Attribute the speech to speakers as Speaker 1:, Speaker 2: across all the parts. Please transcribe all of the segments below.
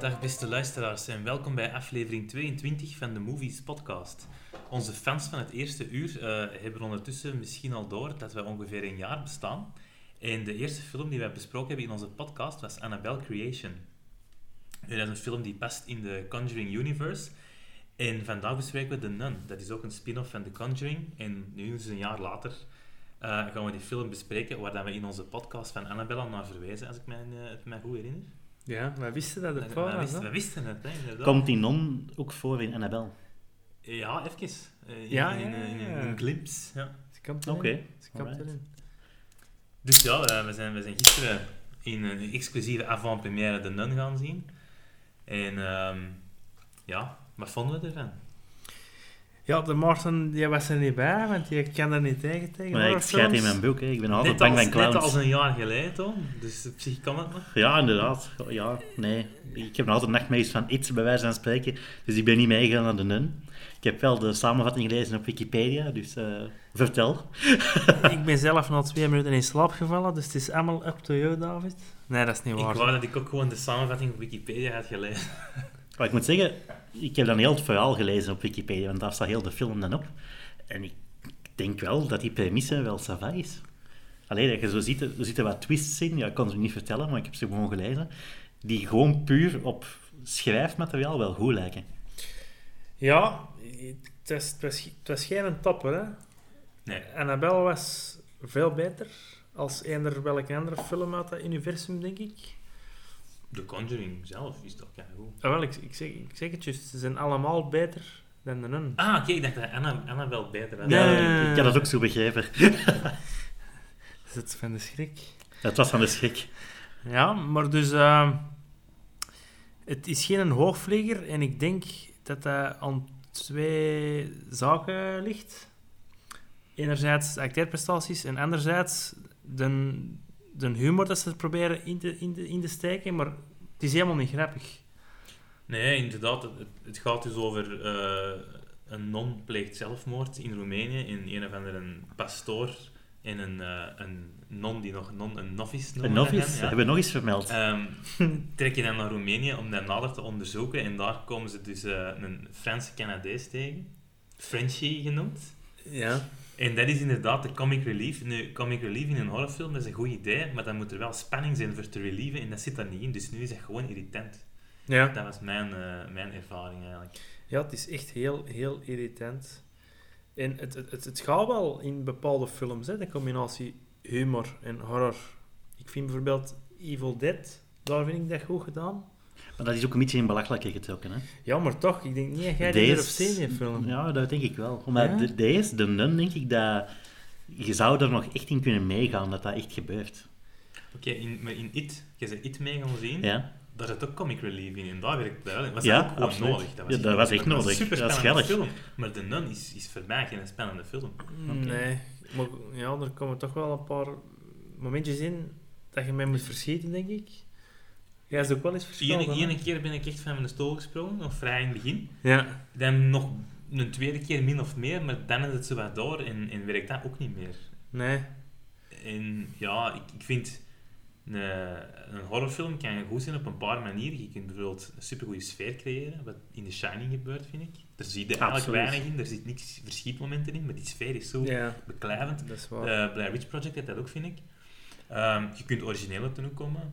Speaker 1: Dag beste luisteraars en welkom bij aflevering 22 van de Movies Podcast. Onze fans van het eerste uur eh, hebben ondertussen misschien al door dat wij ongeveer een jaar bestaan. En de eerste film die wij besproken hebben in onze podcast was Annabelle Creation. En dat is een film die past in de Conjuring Universe. En vandaag bespreken we The Nun. Dat is ook een spin-off van The Conjuring. En nu is een jaar later eh, gaan we die film bespreken, waar dan we in onze podcast van Annabelle al naar verwijzen, als ik mij, eh, het mij goed herinner.
Speaker 2: Ja, wij wisten dat het
Speaker 1: we,
Speaker 2: waar was.
Speaker 1: wisten,
Speaker 2: hè?
Speaker 1: we wisten het, hè, inderdaad.
Speaker 3: Komt die non ook voor in Annabelle?
Speaker 1: Ja, even. Eh, in,
Speaker 2: Ja,
Speaker 1: in,
Speaker 2: ja,
Speaker 1: eh, in
Speaker 2: ja,
Speaker 1: een-
Speaker 2: ja.
Speaker 1: een glimpse. Ja.
Speaker 2: Ze kapt
Speaker 3: Oké,
Speaker 2: erin. Ze kapt
Speaker 3: alright.
Speaker 2: erin.
Speaker 1: Dus ja, eh, we zijn, we zijn gisteren in een exclusieve avant-première de Nun gaan zien. En ehm, ja, wat vonden we ervan?
Speaker 2: Ja, de Maarten die was er niet bij, want je kan er niet tegen tegen.
Speaker 3: Maar ik
Speaker 2: horrorfilms.
Speaker 3: schijt in mijn boek, hè. ik ben
Speaker 2: Nou,
Speaker 3: altijd
Speaker 1: Net
Speaker 3: bang
Speaker 1: als,
Speaker 3: van clowns.
Speaker 1: net als een jaar geleden, Tom. Dus op zich kan het nog.
Speaker 3: Ja, inderdaad. Ja, nee. Ik heb nog altijd nachtmerries van iets, bij wijze van spreken. Dus ik ben niet meegegaan naar de nun. Ik heb wel de samenvatting gelezen op Wikipedia, dus eh, vertel.
Speaker 2: Ik ben zelf na twee minuten in slaap gevallen, dus het is allemaal up to you, David. Nee, dat is niet
Speaker 1: Ik
Speaker 2: waar.
Speaker 1: wou dat ik ook gewoon de samenvatting op Wikipedia had gelezen.
Speaker 3: Maar ik moet zeggen, ik heb dan heel het verhaal gelezen op Wikipedia, want daar staat heel de film dan op. En ik denk wel dat die premisse wel sava is. Alleen dat je zo ziet, er zitten wat twists in, ja, ik kon ze niet vertellen, maar ik heb ze gewoon gelezen, die gewoon puur op schrijfmateriaal wel goed lijken.
Speaker 2: Ja, het was, het, was, het was geen topper, hè.
Speaker 1: Nee.
Speaker 2: Annabelle was veel beter als eender welke andere film uit dat universum, denk ik.
Speaker 1: De Conjuring zelf is toch ja, goed.
Speaker 2: Ah, wel, ik, ik, zeg, ik zeg het juist, ze zijn allemaal beter dan de nun.
Speaker 1: Ah, oké, ik dacht dat Anna, Anna wel beter had.
Speaker 2: Nee.
Speaker 3: Ja, ik kan dat ook zo begrijpen.
Speaker 2: Is het van de schrik?
Speaker 3: Het was van de schrik.
Speaker 2: Ja, maar dus... eh, het is geen hoogvlieger en ik denk dat dat aan twee zaken ligt. Enerzijds de acteerprestaties en anderzijds de, de humor dat ze er proberen in te, in, te, in te steken, maar het is helemaal niet grappig.
Speaker 1: Nee, inderdaad. Het, het- het gaat dus over eh, een non pleegt zelfmoord in Roemenië. In een of andere pastoor en een, eh, een non die nog non, een novice noemen.
Speaker 3: Een novice,
Speaker 1: we hen, ja.
Speaker 3: hebben we nog eens vermeld.
Speaker 1: Ehm, trek je dan naar Roemenië om dat nader te onderzoeken. En daar komen ze dus eh, een Franse Canadees tegen. Frenchie genoemd.
Speaker 2: Ja.
Speaker 1: En dat is inderdaad de comic relief. Nu, comic relief in een horrorfilm dat is een goed idee, maar dan moet er wel spanning zijn voor te relieven. En dat zit daar niet in, dus nu is dat gewoon irritant.
Speaker 2: Ja.
Speaker 1: Dat was mijn, eh, mijn ervaring eigenlijk.
Speaker 2: Ja, het is echt heel, heel irritant. En het, het, het, het gaat wel in bepaalde films, hè, de combinatie humor en horror. Ik vind bijvoorbeeld Evil Dead, daar vind ik dat goed gedaan.
Speaker 3: Maar dat is ook een beetje in belachelijke getrokken. Hè?
Speaker 2: Ja, maar toch, ik denk niet dat jij die
Speaker 3: Deze-
Speaker 2: erop ziet in die film.
Speaker 3: Ja, dat denk ik wel. Maar
Speaker 2: Ja?
Speaker 3: de, deze, de nun, denk ik dat... Je zou er nog echt in kunnen meegaan dat dat echt gebeurt.
Speaker 1: Oké, in, maar in It, je zei It mee gaan zien,
Speaker 3: Ja?
Speaker 1: daar zit ook comic relief in. En daar werkt dat wel in. Was
Speaker 3: Ja,
Speaker 1: dat ook gewoon
Speaker 3: absoluut.
Speaker 1: nodig.
Speaker 3: Ja, dat was echt
Speaker 1: een
Speaker 3: nodig.
Speaker 1: superspannende
Speaker 3: Dat is
Speaker 1: film. Maar The Nun is, is voor mij geen spannende film.
Speaker 2: Nee, maar ja, er komen toch wel een paar momentjes in dat je mij moet verschieten, denk ik. Jij is ook wel eens
Speaker 1: De ene,
Speaker 2: verschoten.
Speaker 1: ene keer ben ik echt van mijn stoel gesprongen, nog vrij in het begin.
Speaker 2: Ja.
Speaker 1: Dan nog een tweede keer min of meer, maar dan is het zo wat door en, en werkt dat ook niet meer.
Speaker 2: Nee.
Speaker 1: En ja, ik, ik vind een, een horrorfilm kan goed zijn op een paar manieren. Je kunt bijvoorbeeld een supergoeie sfeer creëren, wat in The Shining gebeurt, vind ik. Er zit er eigenlijk
Speaker 3: Absoluut.
Speaker 1: weinig in, er zit niks verschietmomenten in, maar die sfeer is zo
Speaker 2: Ja, Oh.
Speaker 1: beklijvend.
Speaker 2: dat is waar.
Speaker 1: De Blair Witch Project heeft dat ook, vind ik. Ehm, je kunt origineel op doen komen.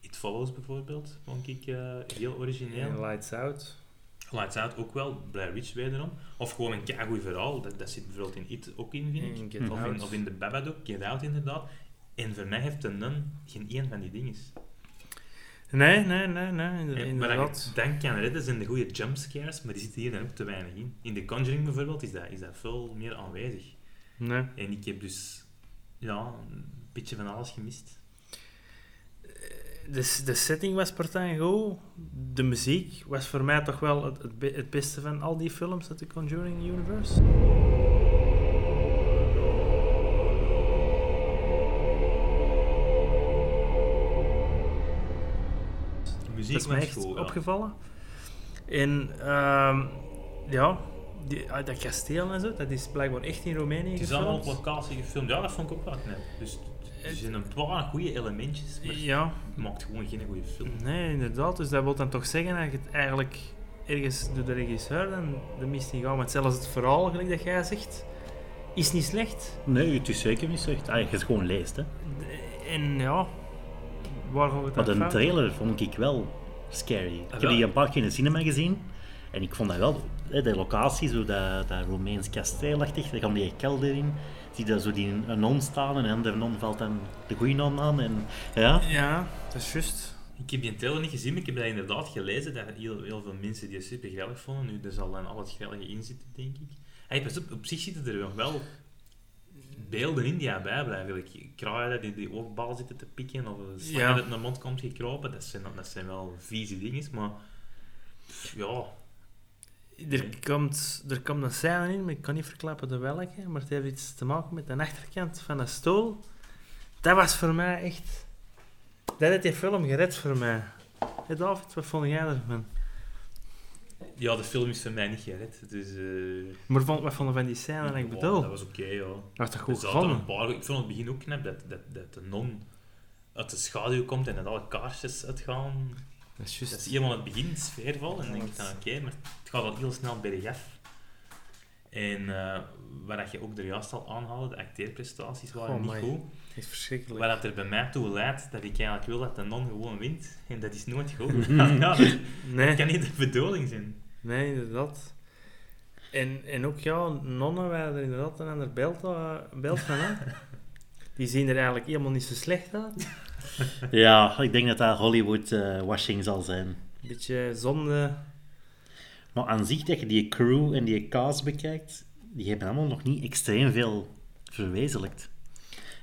Speaker 1: It Follows bijvoorbeeld, vond ik eh, heel origineel.
Speaker 2: En Lights Out.
Speaker 1: Lights Out ook wel, Blair Witch wederom. Of gewoon een keigoed verhaal, dat, dat zit bijvoorbeeld in It ook in, vind ik.
Speaker 2: En Get
Speaker 3: Mhm.
Speaker 1: Of
Speaker 2: Out.
Speaker 1: in, of in de Babadook, Get Out inderdaad. En voor mij heeft de Nun geen één van die dingen.
Speaker 2: Nee, nee, nee, nee, inder-
Speaker 1: En Waar
Speaker 2: inderdaad.
Speaker 1: ik denk kan redden zijn de goede jumpscares, maar die zitten hier dan ook te weinig in. In The Conjuring bijvoorbeeld is dat, is dat veel meer aanwezig.
Speaker 2: Nee.
Speaker 1: En ik heb dus ja, een beetje van alles gemist.
Speaker 2: De, de setting was partij goed. De muziek was voor mij toch wel het, het, be- het beste van al die films uit de Conjuring Universe.
Speaker 1: De muziek
Speaker 2: Dat is mij
Speaker 1: was
Speaker 2: echt
Speaker 1: goed, ja.
Speaker 2: opgevallen. En ehm, ja, die, ah, dat kasteel en zo, dat is blijkbaar echt in Roemenië
Speaker 1: Het is allemaal op
Speaker 2: gefilmd.
Speaker 1: locatie gefilmd. Ja, dat vond ik ook wel knap. Dus t- er
Speaker 2: Het-
Speaker 1: zijn een paar goede elementjes, maar
Speaker 2: Ja,
Speaker 1: het maakt gewoon geen goede film.
Speaker 2: nee, inderdaad. Dus dat wil dan toch zeggen dat je het eigenlijk ergens door de regisseur dan de mist in gaat. Want zelfs het verhaal, gelijk dat jij zegt, is niet slecht.
Speaker 3: Nee, het is zeker niet slecht. Ah, je het gewoon leest, hè.
Speaker 2: D- En ja, waar gaat het
Speaker 3: Maar
Speaker 2: dan
Speaker 3: de
Speaker 2: fout?
Speaker 3: trailer vond ik wel scary. Ik heb
Speaker 1: wel.
Speaker 3: die een paar keer in de cinema gezien. En ik vond dat wel... Hè, de locatie, zo dat, dat Romeins kasteelachtig. Daar gaan die kelder in. Zie je daar zo die een non staan. En de andere non valt dan de goede non aan. En, ja.
Speaker 2: Ja, dat is juist.
Speaker 1: Ik heb die trailer niet gezien, maar ik heb dat inderdaad gelezen. Dat heel, heel veel mensen die het super grellig vonden. Nu, er zal dan al het grellige in zitten, denk ik. Hey, pas op, op zich zitten er nog wel beelden in die bij blijven. Like, kraaien die, die oogbal zitten te pikken, of een slang
Speaker 2: Ja.
Speaker 1: dat naar mond komt gekropen. Dat zijn, dat zijn wel vieze dingen, maar... pff, Ja,
Speaker 2: Er komt, er komt een scène in, maar ik kan niet verklappen de welke, maar het heeft iets te maken met de achterkant van een stoel. Dat was voor mij echt... Dat heeft die film gered voor mij. Hey David, wat vond jij ervan?
Speaker 1: ja, de film is voor mij niet gered. Dus, eh,
Speaker 2: Maar vond, wat vond je van die scène dat ik
Speaker 1: wow,
Speaker 2: bedoel?
Speaker 1: Dat
Speaker 2: Dat
Speaker 1: was oké, ja.
Speaker 2: was toch goed
Speaker 1: Er zaten
Speaker 2: gevonden?
Speaker 1: een paar, ik vond het begin ook knap dat, dat, dat de non uit de schaduw komt en dat alle kaarsjes uitgaan.
Speaker 2: Dat is
Speaker 1: Dat is
Speaker 2: juist...
Speaker 1: helemaal Dus het begin, sfeervol. En dan denk ik dan, oké, maar het gaat al heel snel bergaf. En eh waar dat je ook er juist al aanhaalde, de acteerprestaties waren
Speaker 2: Oh,
Speaker 1: niet
Speaker 2: my.
Speaker 1: goed.
Speaker 2: Dat is verschrikkelijk.
Speaker 1: Waar dat er bij mij toe leidt dat ik eigenlijk wil dat de non gewoon wint. En dat is nooit goed. ja, dat
Speaker 2: Nee.
Speaker 1: kan niet de bedoeling zijn.
Speaker 2: Nee, inderdaad. En, en ook ja, nonnen waren er inderdaad een ander beeld, eh, beeld van aan. Die zien er eigenlijk helemaal niet zo slecht uit.
Speaker 3: ja, ik denk dat dat Hollywood-washing zal zijn.
Speaker 2: Een beetje zonde.
Speaker 3: Maar aan zich, dat je die crew en die cast bekijkt, die hebben allemaal nog niet extreem veel verwezenlijkt.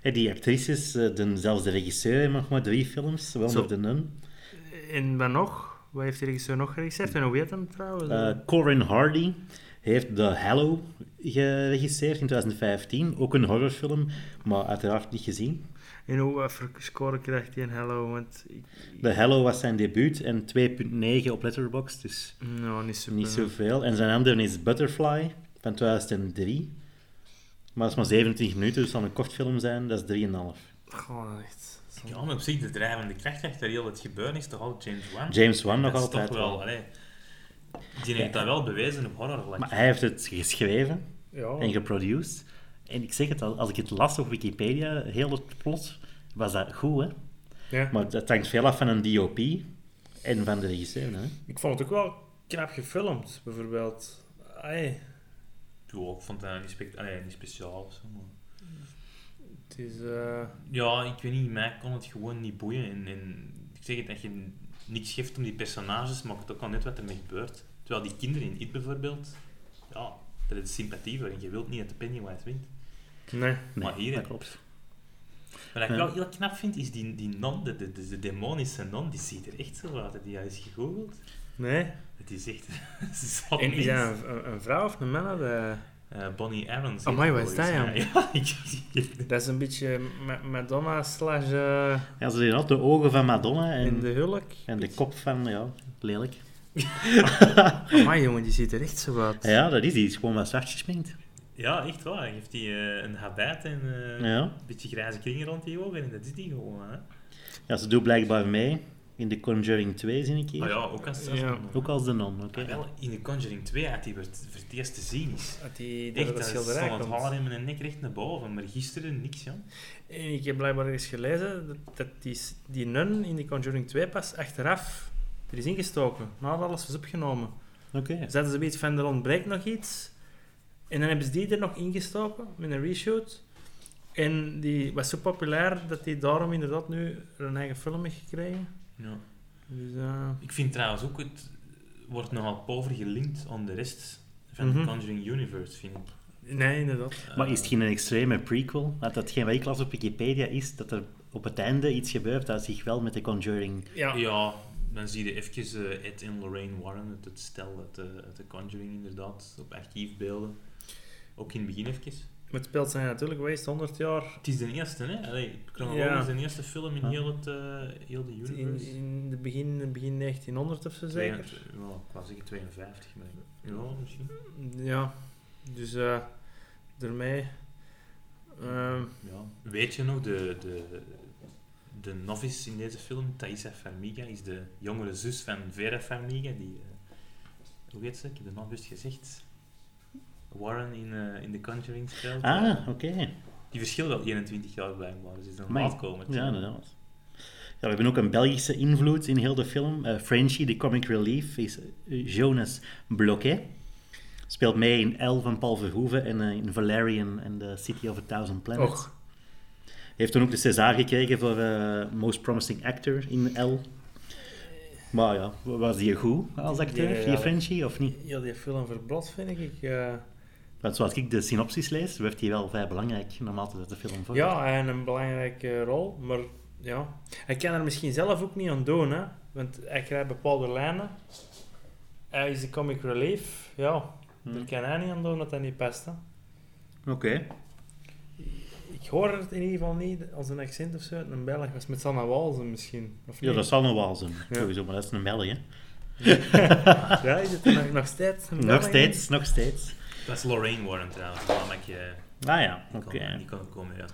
Speaker 3: Hè, die actrices, eh, de, zelfs de regisseur, heeft nog maar drie films, wel
Speaker 2: Zo.
Speaker 3: met de nun.
Speaker 2: En wat nog? Wat heeft de regisseur nog geregisseerd? En hoe heet hem trouwens?
Speaker 3: Eh, Corin Hardy heeft The Hallow geregisseerd in 2015. Ook een horrorfilm, maar uiteraard niet gezien.
Speaker 2: en hoe wat voor score krijgt hij in Hello? Want ik,
Speaker 3: The Hallow was zijn debuut en 2.9 op Letterboxd, dus
Speaker 2: nou, niet zo.
Speaker 3: niet zoveel. En zijn andere is Butterfly van 2003. Maar dat is maar 27 minuten, dus het zal een kort film zijn. Dat is 3,5.
Speaker 2: Gewoon echt. zonde.
Speaker 1: Ja, maar op zich, de drijvende kracht achter heel het gebeuren is toch altijd James Wan.
Speaker 3: James Wan nog
Speaker 1: dat is
Speaker 3: altijd
Speaker 1: toch wel,
Speaker 3: wel.
Speaker 1: allee, Die heeft dat wel bewezen op horrorvlak.
Speaker 3: Maar hij heeft het geschreven en
Speaker 2: Ja.
Speaker 3: geproduced. En ik zeg het al, als ik het las op Wikipedia, heel het plot, was dat goed, hè?
Speaker 2: ja.
Speaker 3: Maar dat hangt veel af van een DOP en van de regisseur, hè?
Speaker 2: Ik vond het ook wel knap gefilmd, bijvoorbeeld. Ai,
Speaker 1: Ja, ik vond dat niet, spe- allee, niet speciaal of zo. maar-
Speaker 2: het is... eh,
Speaker 1: Ja, ik weet niet, mij kon het gewoon niet boeien. En, en ik zeg het, dat je niks geeft om die personages, maakt het ook al net wat ermee gebeurt. Terwijl die kinderen in It bijvoorbeeld, ja, dat is sympathie voor en je wilt niet dat de Pennywise wint.
Speaker 2: Nee.
Speaker 1: Maar hier,
Speaker 3: dat
Speaker 1: hè.
Speaker 3: klopt.
Speaker 1: Wat ik
Speaker 3: Ja.
Speaker 1: wel heel knap vind, is die, die non, de, de, de, de demonische non, die ziet er echt zo uit. Die is gegoogeld.
Speaker 2: Nee?
Speaker 1: Het is echt een zot
Speaker 2: En
Speaker 1: mens.
Speaker 2: is dat een, een- een vrouw of een man? De...
Speaker 1: Eh, Bonnie Aarons.
Speaker 2: Amai,
Speaker 1: heeft
Speaker 2: wat is dat,
Speaker 1: volgens mij- Ja, ik
Speaker 2: Dat is een beetje Ma- Madonna slash eh,
Speaker 3: Ja, ze zien altijd de ogen van Madonna en,
Speaker 2: in
Speaker 3: en,
Speaker 2: de
Speaker 3: de...
Speaker 2: hulk.
Speaker 3: kop van, ja, lelijk.
Speaker 2: Maar jongen, die ziet er echt zo uit.
Speaker 3: Ja, dat is iets, gewoon wat zwart gesminkt.
Speaker 1: Ja, echt waar. Hij heeft die, eh, een habit en eh,
Speaker 3: Ja.
Speaker 1: een beetje grijze kringen rond die ogen. En dat is die gewoon, hè.
Speaker 3: ja, ze doet blijkbaar mee in The Conjuring 2, zie ik hier.
Speaker 1: Ah ja, Ah, ook als
Speaker 2: Ja.
Speaker 3: Ook als de non, oké.
Speaker 1: Wel, in de Conjuring 2 had die werd- voor het eerst te zien is.
Speaker 2: Dat die door
Speaker 1: Echt,
Speaker 2: dat
Speaker 1: dat stond het
Speaker 2: schilderij
Speaker 1: haar
Speaker 2: komt.
Speaker 1: in mijn nek recht naar boven. Maar gisteren niks, ja.
Speaker 2: En ik heb blijkbaar eens gelezen dat, dat die, s- die nun in de Conjuring 2 pas achteraf er is ingestoken. Nadat alles was opgenomen.
Speaker 3: Oké.
Speaker 2: Ze hadden zoiets van, er ontbreekt nog iets. En dan hebben ze die er nog ingestoken, met een reshoot. En die was zo populair dat die daarom inderdaad nu een eigen film heeft gekregen.
Speaker 1: ja.
Speaker 2: Dus, eh,
Speaker 1: Ik vind trouwens ook, het wordt nogal pover gelinkt aan de rest van
Speaker 2: Mhm.
Speaker 1: de Conjuring Universe, vind ik.
Speaker 2: nee, inderdaad.
Speaker 3: Maar is het geen extreme prequel? Dat hetgeen wat ik las op Wikipedia is dat er op het einde iets gebeurt dat zich wel met de Conjuring...
Speaker 2: Ja.
Speaker 1: Eh, Ja, dan zie je even eh, Ed en Lorraine Warren, het, eh, het stel uit de, uit de Conjuring inderdaad, op archiefbeelden. Ook in het begin even.
Speaker 2: Maar het speelt zijn natuurlijk geweest 100 jaar
Speaker 1: Het is de eerste, hè? Allee, chronologisch
Speaker 2: Ja.
Speaker 1: de eerste film in
Speaker 3: Ja.
Speaker 1: heel, het, eh, heel de
Speaker 2: in,
Speaker 1: universe.
Speaker 2: in de begin, begin 1900 of zo zeker.
Speaker 1: Twee- ja, ik wou zeggen 52, maar ja, misschien.
Speaker 2: Ja, dus eh door mij. ehm,
Speaker 1: Ja. Weet je nog, de, de, de novice in deze film, Thaisa Farmiga, is de jongere zus van Vera Farmiga. Die, eh, hoe heet ze? Ik heb de naam juist gezegd. Warren in, eh, in The Conjuring speelt.
Speaker 3: Ah, oké.
Speaker 1: Die verschillen wel 21 jaar blijkbaar, dus is dan
Speaker 3: Amai.
Speaker 1: laatkomend.
Speaker 3: Ja, inderdaad. Ja, we hebben ook een Belgische invloed in heel de film. Eh, Frenchie, de comic relief, is eh, Jonas Bloquet. Speelt mee in Elle van Paul Verhoeven en eh, in Valerian en The City of a Thousand Planets.
Speaker 2: och,
Speaker 3: Heeft toen ook de César gekregen voor eh, Most Promising Actor in Elle. Maar ja, was die goed als acteur,
Speaker 2: Ja, ja,
Speaker 3: die
Speaker 2: ja.
Speaker 3: Frenchie, of niet?
Speaker 2: ja, die film verblad vind ik. eh,
Speaker 3: Want zoals ik de synopsis lees, werd hij wel vrij belangrijk, naarmate dat de film voor.
Speaker 2: ja, en een belangrijke rol, maar ja. Hij kan er misschien zelf ook niet aan doen, hè. Want hij krijgt bepaalde lijnen. Hij is de comic relief, ja.
Speaker 3: Hmm.
Speaker 2: Daar kan hij niet aan doen dat hij niet past, hè.
Speaker 3: Hm. Oké.
Speaker 2: Ik hoor het in ieder geval niet als een accent of zo uit een Belg. was met Sanna Walsen misschien. Of
Speaker 3: Ja,
Speaker 2: niet?
Speaker 3: dat zal nog wel zijn,
Speaker 2: Ja.
Speaker 3: sowieso, maar dat is een Belg, hè.
Speaker 2: Ja, is het nog, nog steeds een
Speaker 3: Nog
Speaker 2: Belg?
Speaker 3: steeds, nog steeds.
Speaker 1: Dat is Lorraine Warren trouwens, waarom ik je...
Speaker 3: Ah ja,
Speaker 1: Die
Speaker 3: oké.
Speaker 1: kan, die kan komen, ja.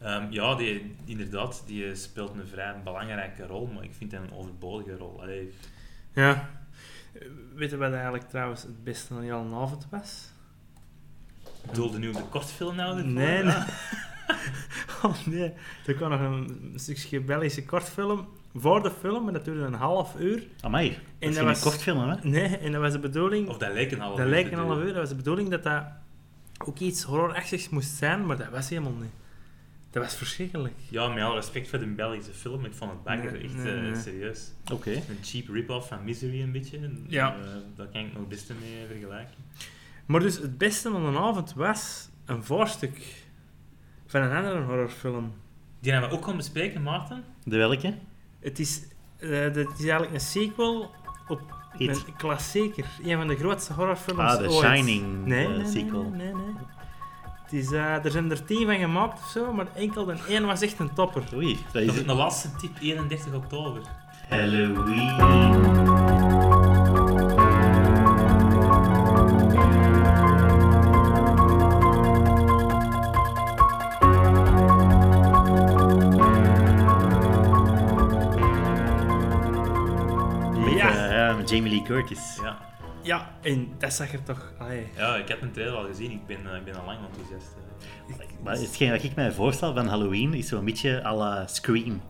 Speaker 1: Ehm, ja, die, inderdaad, die speelt een vrij belangrijke rol, maar ik vind hem een overbodige rol. Allee,
Speaker 2: Ja. Eh, Weet je wat eigenlijk trouwens het beste van die hele avond was?
Speaker 1: Doelde nu op de kortfilm nou? ervoor?
Speaker 2: Nee, nee.
Speaker 1: Ja.
Speaker 2: Oh nee, er kwam nog een stukje Belgische kortfilm voor de film, maar dat duurde een half uur.
Speaker 3: Amai, dat
Speaker 2: En
Speaker 3: is
Speaker 2: dat
Speaker 3: geen
Speaker 2: was-
Speaker 3: kort film, hè?
Speaker 2: Nee, en dat was de bedoeling...
Speaker 1: Of dat lijkt een half
Speaker 2: dat
Speaker 1: uur
Speaker 2: lijkt
Speaker 1: te
Speaker 2: een half
Speaker 1: duren.
Speaker 2: uur, dat was de bedoeling dat dat ook iets horrorachtigs moest zijn, maar dat was helemaal niet. Dat was verschrikkelijk.
Speaker 1: Ja, met alle respect voor de Belgische film, ik vond het bagger,
Speaker 2: Nee,
Speaker 1: echt
Speaker 2: nee,
Speaker 1: eh,
Speaker 2: nee.
Speaker 1: serieus.
Speaker 3: Oké.
Speaker 1: Een cheap rip-off van Misery een beetje, en,
Speaker 2: Ja.
Speaker 1: eh, daar kan ik nog het beste mee vergelijken.
Speaker 2: Maar dus het beste van de avond was een voorstuk van een andere horrorfilm.
Speaker 1: Die gaan we ook gaan bespreken, Maarten.
Speaker 3: De welke?
Speaker 2: Het is, eh, dat is eigenlijk een sequel op
Speaker 3: It.
Speaker 2: een klassieker. Een van de grootste horrorfilms
Speaker 3: Ah, The
Speaker 2: ooit.
Speaker 3: Shining
Speaker 2: Nee,
Speaker 3: eh,
Speaker 2: nee, nee,
Speaker 3: sequel.
Speaker 2: nee, nee. Het is, eh, er zijn er tien van gemaakt of zo, maar enkel de één was echt een topper.
Speaker 3: Oei, dat
Speaker 1: Dat
Speaker 3: is
Speaker 1: is de laatste tip, 31 oktober.
Speaker 3: Halloween. Met,
Speaker 2: Ja.
Speaker 3: eh, ja, met Jamie Lee Curtis.
Speaker 1: Ja.
Speaker 2: Ja, en dat zag er toch... Allee.
Speaker 1: ja, ik heb een trailer al gezien, ik ben, eh, ik ben al lang enthousiast. eh.
Speaker 3: Maar hetgeen dat ik mij voorstel van Halloween is zo'n beetje à la Scream.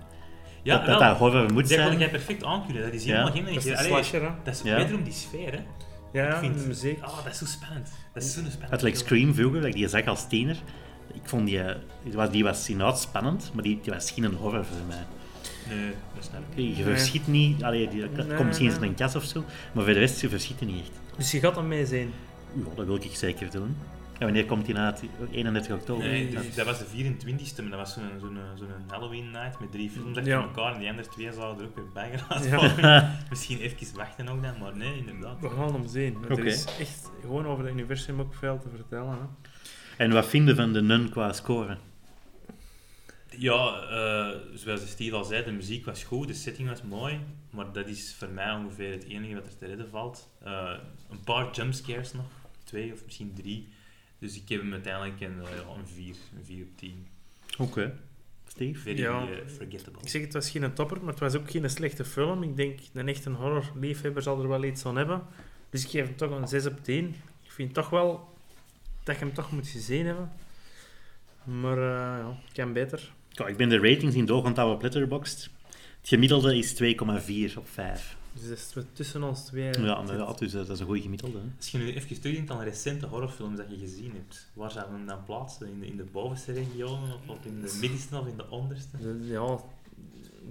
Speaker 1: Ja,
Speaker 3: dat
Speaker 1: wel.
Speaker 3: dat, dat horror moet
Speaker 1: Dat kon
Speaker 3: zijn.
Speaker 1: jij perfect aankunnen. Dat is helemaal
Speaker 3: Ja.
Speaker 1: geen
Speaker 2: Dat is een
Speaker 1: Allee,
Speaker 2: slasher, hè?
Speaker 1: Dat is
Speaker 3: Ja.
Speaker 1: wederom die sfeer, hè?
Speaker 2: Ja,
Speaker 1: ik vind,
Speaker 2: de muziek.
Speaker 1: Ah, dat is zo spannend. Dat is zo'n spannend.
Speaker 3: Het lijkt Scream vroeger, dat ik die zag als tiener. Ik vond die, eh, die was, die was inderdaad spannend, maar die, die was geen horror voor mij.
Speaker 1: Nee, dat snap ik.
Speaker 3: Je
Speaker 2: Nee.
Speaker 3: verschiet niet, allee, die, dat
Speaker 2: Nee,
Speaker 3: komt misschien eens in
Speaker 2: nee.
Speaker 3: een kas of zo, maar voor de rest, je verschiet er niet echt.
Speaker 2: Dus je gaat hem mee zien.
Speaker 3: Ja, dat wil ik zeker doen. En wanneer komt die na? 31 oktober?
Speaker 1: Nee,
Speaker 3: Dat-
Speaker 1: dat, dat was de 24e, maar dat was zo'n zo'n zo'n Halloween night met drie films achter
Speaker 2: Ja.
Speaker 1: elkaar en die andere twee zouden er ook weer bij geraakt
Speaker 2: Ja.
Speaker 1: worden. Misschien even wachten ook dan, maar nee, inderdaad.
Speaker 2: We gaan hem zien. Want
Speaker 3: Oké.
Speaker 2: Er is echt gewoon over het universum ook veel te vertellen. Hè.
Speaker 3: En wat vinden van de Nun qua score?
Speaker 1: Ja, eh, zoals Steve al zei, de muziek was goed, de setting was mooi, maar dat is voor mij ongeveer het enige wat er te redden valt. Eh, een paar jumpscares nog, twee of misschien drie. Dus ik heb hem uiteindelijk een, eh, ja, een 4, een 4 op 10.
Speaker 3: Oké. Steve?
Speaker 1: Very
Speaker 2: Ja.
Speaker 1: eh, forgettable.
Speaker 2: Ik zeg, het was geen topper, maar het was ook geen slechte film. Ik denk, een echte horrorliefhebber zal er wel iets aan hebben. Dus ik geef hem toch een 6 op 10. Ik vind toch wel dat je hem toch moet gezien hebben. Maar eh ja, kan beter.
Speaker 3: Ja, ik ben de ratings in doorgaand houden op Letterboxd. Het gemiddelde is 2,4 op 5.
Speaker 2: Dus dat is wat tussen ons twee.
Speaker 3: Ja, inderdaad, dus eh, dat is een goede gemiddelde. hè.
Speaker 1: Als je nu even terugdenkt aan recente horrorfilms dat je gezien hebt, waar zouden we hem dan plaatsen? In de, in de bovenste regionen, of, of in de middenste, of in de onderste?
Speaker 2: De- ja,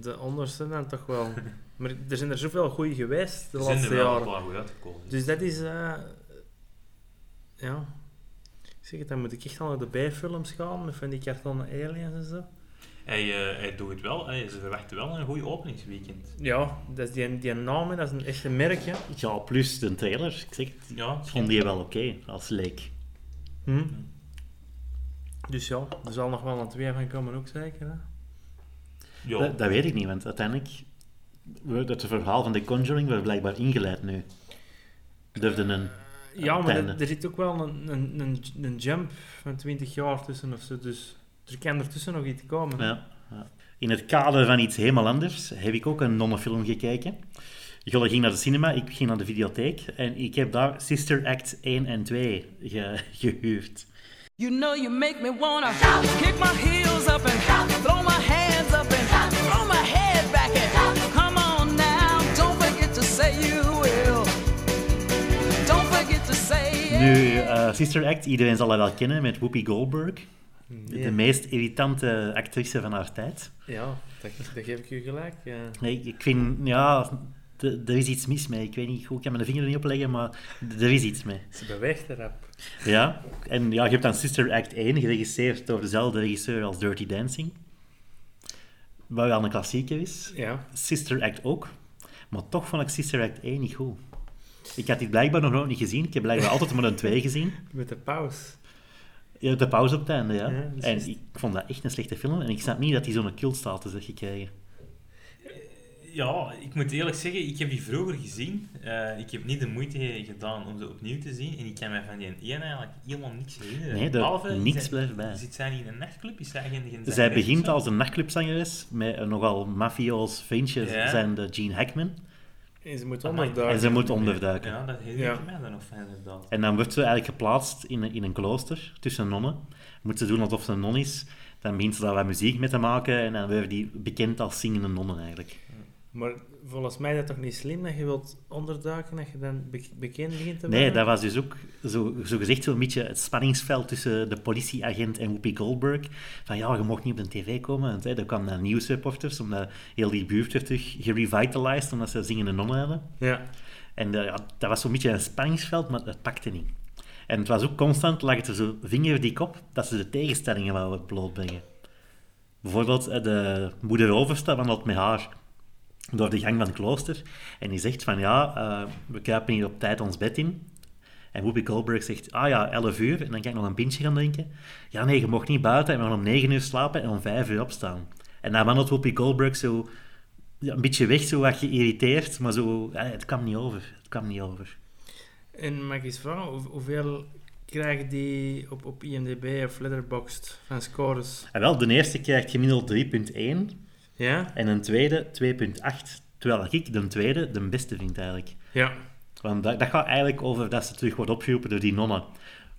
Speaker 2: de onderste dan toch wel. Maar er zijn er zoveel goede geweest de
Speaker 1: Er zijn
Speaker 2: laatste
Speaker 1: er wel een
Speaker 2: jaren.
Speaker 1: paar goed uitgekomen.
Speaker 2: Dus dat is... eh, ja... Ik zeg het, dan moet ik echt al naar de bijfilms gaan, met van die kartonnen aliens en zo.
Speaker 1: Hij, eh, hij doet het wel, Hij- ze verwachten wel een goede openingsweekend.
Speaker 2: Ja, dat is die, die naam, hè, dat is een echte merk, hè.
Speaker 3: Ja, plus de trailer. Ik zeg, het,
Speaker 1: Ja,
Speaker 3: ik vond die wel oké als leek.
Speaker 2: Hm? Dus ja, er zal nog wel een twee van komen ook zeker. Hè?
Speaker 1: Ja.
Speaker 3: Dat, dat weet ik niet, want uiteindelijk... wordt Het verhaal van The Conjuring werd blijkbaar ingeleid nu. Durfde een...
Speaker 2: Ja,
Speaker 3: het
Speaker 2: maar
Speaker 3: einde.
Speaker 2: er, er zit ook wel een, een, een, een jump van 20 jaar tussen of zo. Dus er kan ertussen nog iets komen.
Speaker 3: Ja, ja. In het kader van iets helemaal anders heb ik ook een nonnenfilm gekeken. Jolle ging naar de cinema, ik ging naar de videotheek. En ik heb daar Sister Act 1 en 2 ge- gehuurd.
Speaker 4: You know you make me wanna kick my heels up and throw my hands up and throw my head back and come on now. Don't forget to say you will. Don't forget to say it.
Speaker 3: Nu, eh, Sister Act, iedereen zal haar wel kennen met Whoopi Goldberg. De meest irritante actrice van haar tijd.
Speaker 2: Ja, dat, dat geef ik u gelijk. Ja.
Speaker 3: Nee, ik vind, ja, d- er is iets mis mee. Ik weet niet hoe ik kan mijn vinger er niet op leggen, maar d- er is iets mee.
Speaker 2: Ze beweegt erop.
Speaker 3: Ja, en ja, je hebt dan Sister Act 1, geregisseerd door dezelfde regisseur als Dirty Dancing. Wat wel een klassieker is.
Speaker 2: Ja.
Speaker 3: Sister Act ook. Maar toch vond ik Sister Act 1 niet goed. Ik had dit blijkbaar nog nooit niet gezien. Ik heb blijkbaar altijd maar een 2 gezien.
Speaker 2: Met de pauze.
Speaker 3: Ja, de pauze op het einde, ja.
Speaker 2: Ja, dat is juist.
Speaker 3: en ik vond dat echt een slechte film. En ik snap niet dat hij zo'n cultstatus heeft gekregen.
Speaker 1: Ja, ik moet eerlijk zeggen, ik heb die vroeger gezien. Eh, ik heb niet de moeite gedaan om ze opnieuw te zien. En ik kan mij van die één eigenlijk helemaal niks herinneren.
Speaker 3: Nee, er-
Speaker 1: Behalve,
Speaker 3: niks
Speaker 1: zij-
Speaker 3: blijft bij.
Speaker 1: Zit zij niet in een nachtclub? Is zij geen, geen
Speaker 3: Zij
Speaker 1: zangeres of
Speaker 3: begint
Speaker 1: zo?
Speaker 3: als een nachtclubzangeres met een nogal mafioos ventje,
Speaker 1: Ja.
Speaker 3: zijn de Gene Hackman.
Speaker 2: En ze moet
Speaker 1: Amai.
Speaker 2: onderduiken.
Speaker 3: Ah, En ze moet onderduiken.
Speaker 1: Ja, dat herinner ik
Speaker 2: Ja.
Speaker 1: mij dan nog van inderdaad.
Speaker 3: En dan wordt ze eigenlijk geplaatst in een, in een klooster tussen nonnen. Moet ze doen alsof ze een non is. Dan begint ze daar wat muziek mee te maken. En dan wordt die bekend als zingende nonnen eigenlijk.
Speaker 2: Maar volgens mij is dat toch niet slim dat je wilt onderduiken dat je dan be- bekend begint te worden?
Speaker 3: Nee, dat was dus ook zo, zo gezegd zo'n beetje het spanningsveld tussen de politieagent en Whoopi Goldberg. Van ja, je mocht niet op de tv komen. Want hè, er kwamen dan nieuwsreporters, omdat heel die buurt werd terug gerevitalized, omdat ze zingende nonnen hadden.
Speaker 2: Ja.
Speaker 3: En eh, ja, dat was zo'n beetje een spanningsveld, maar dat pakte niet. En het was ook constant, lag het er zo vingerdik op, dat ze de tegenstellingen wouden blootbrengen. Bijvoorbeeld eh, de moeder overste wandelt met haar door de gang van het klooster. En die zegt van, ja, eh, we kruipen hier op tijd ons bed in. En Whoopi Goldberg zegt, ah ja, 11 uur, en dan kan ik nog een pintje gaan drinken. Ja, nee, je mocht niet buiten, en we gaan om 9 uur slapen en om 5 uur opstaan. En dan wandelt Whoopi Goldberg zo ja, een beetje weg, zo wat geïrriteerd, maar zo, eh, het kwam niet over. Het kwam niet over.
Speaker 2: En mag ik eens vragen, hoe- hoeveel krijgen die op, op IMDb of Letterboxd van scores?
Speaker 3: En wel, de eerste krijgt gemiddeld 3.1
Speaker 2: Ja?
Speaker 3: en een tweede 2.8. Terwijl ik de tweede de beste vind eigenlijk.
Speaker 2: Ja.
Speaker 3: Want dat, dat gaat eigenlijk over dat ze terug wordt opgeroepen door die nonnen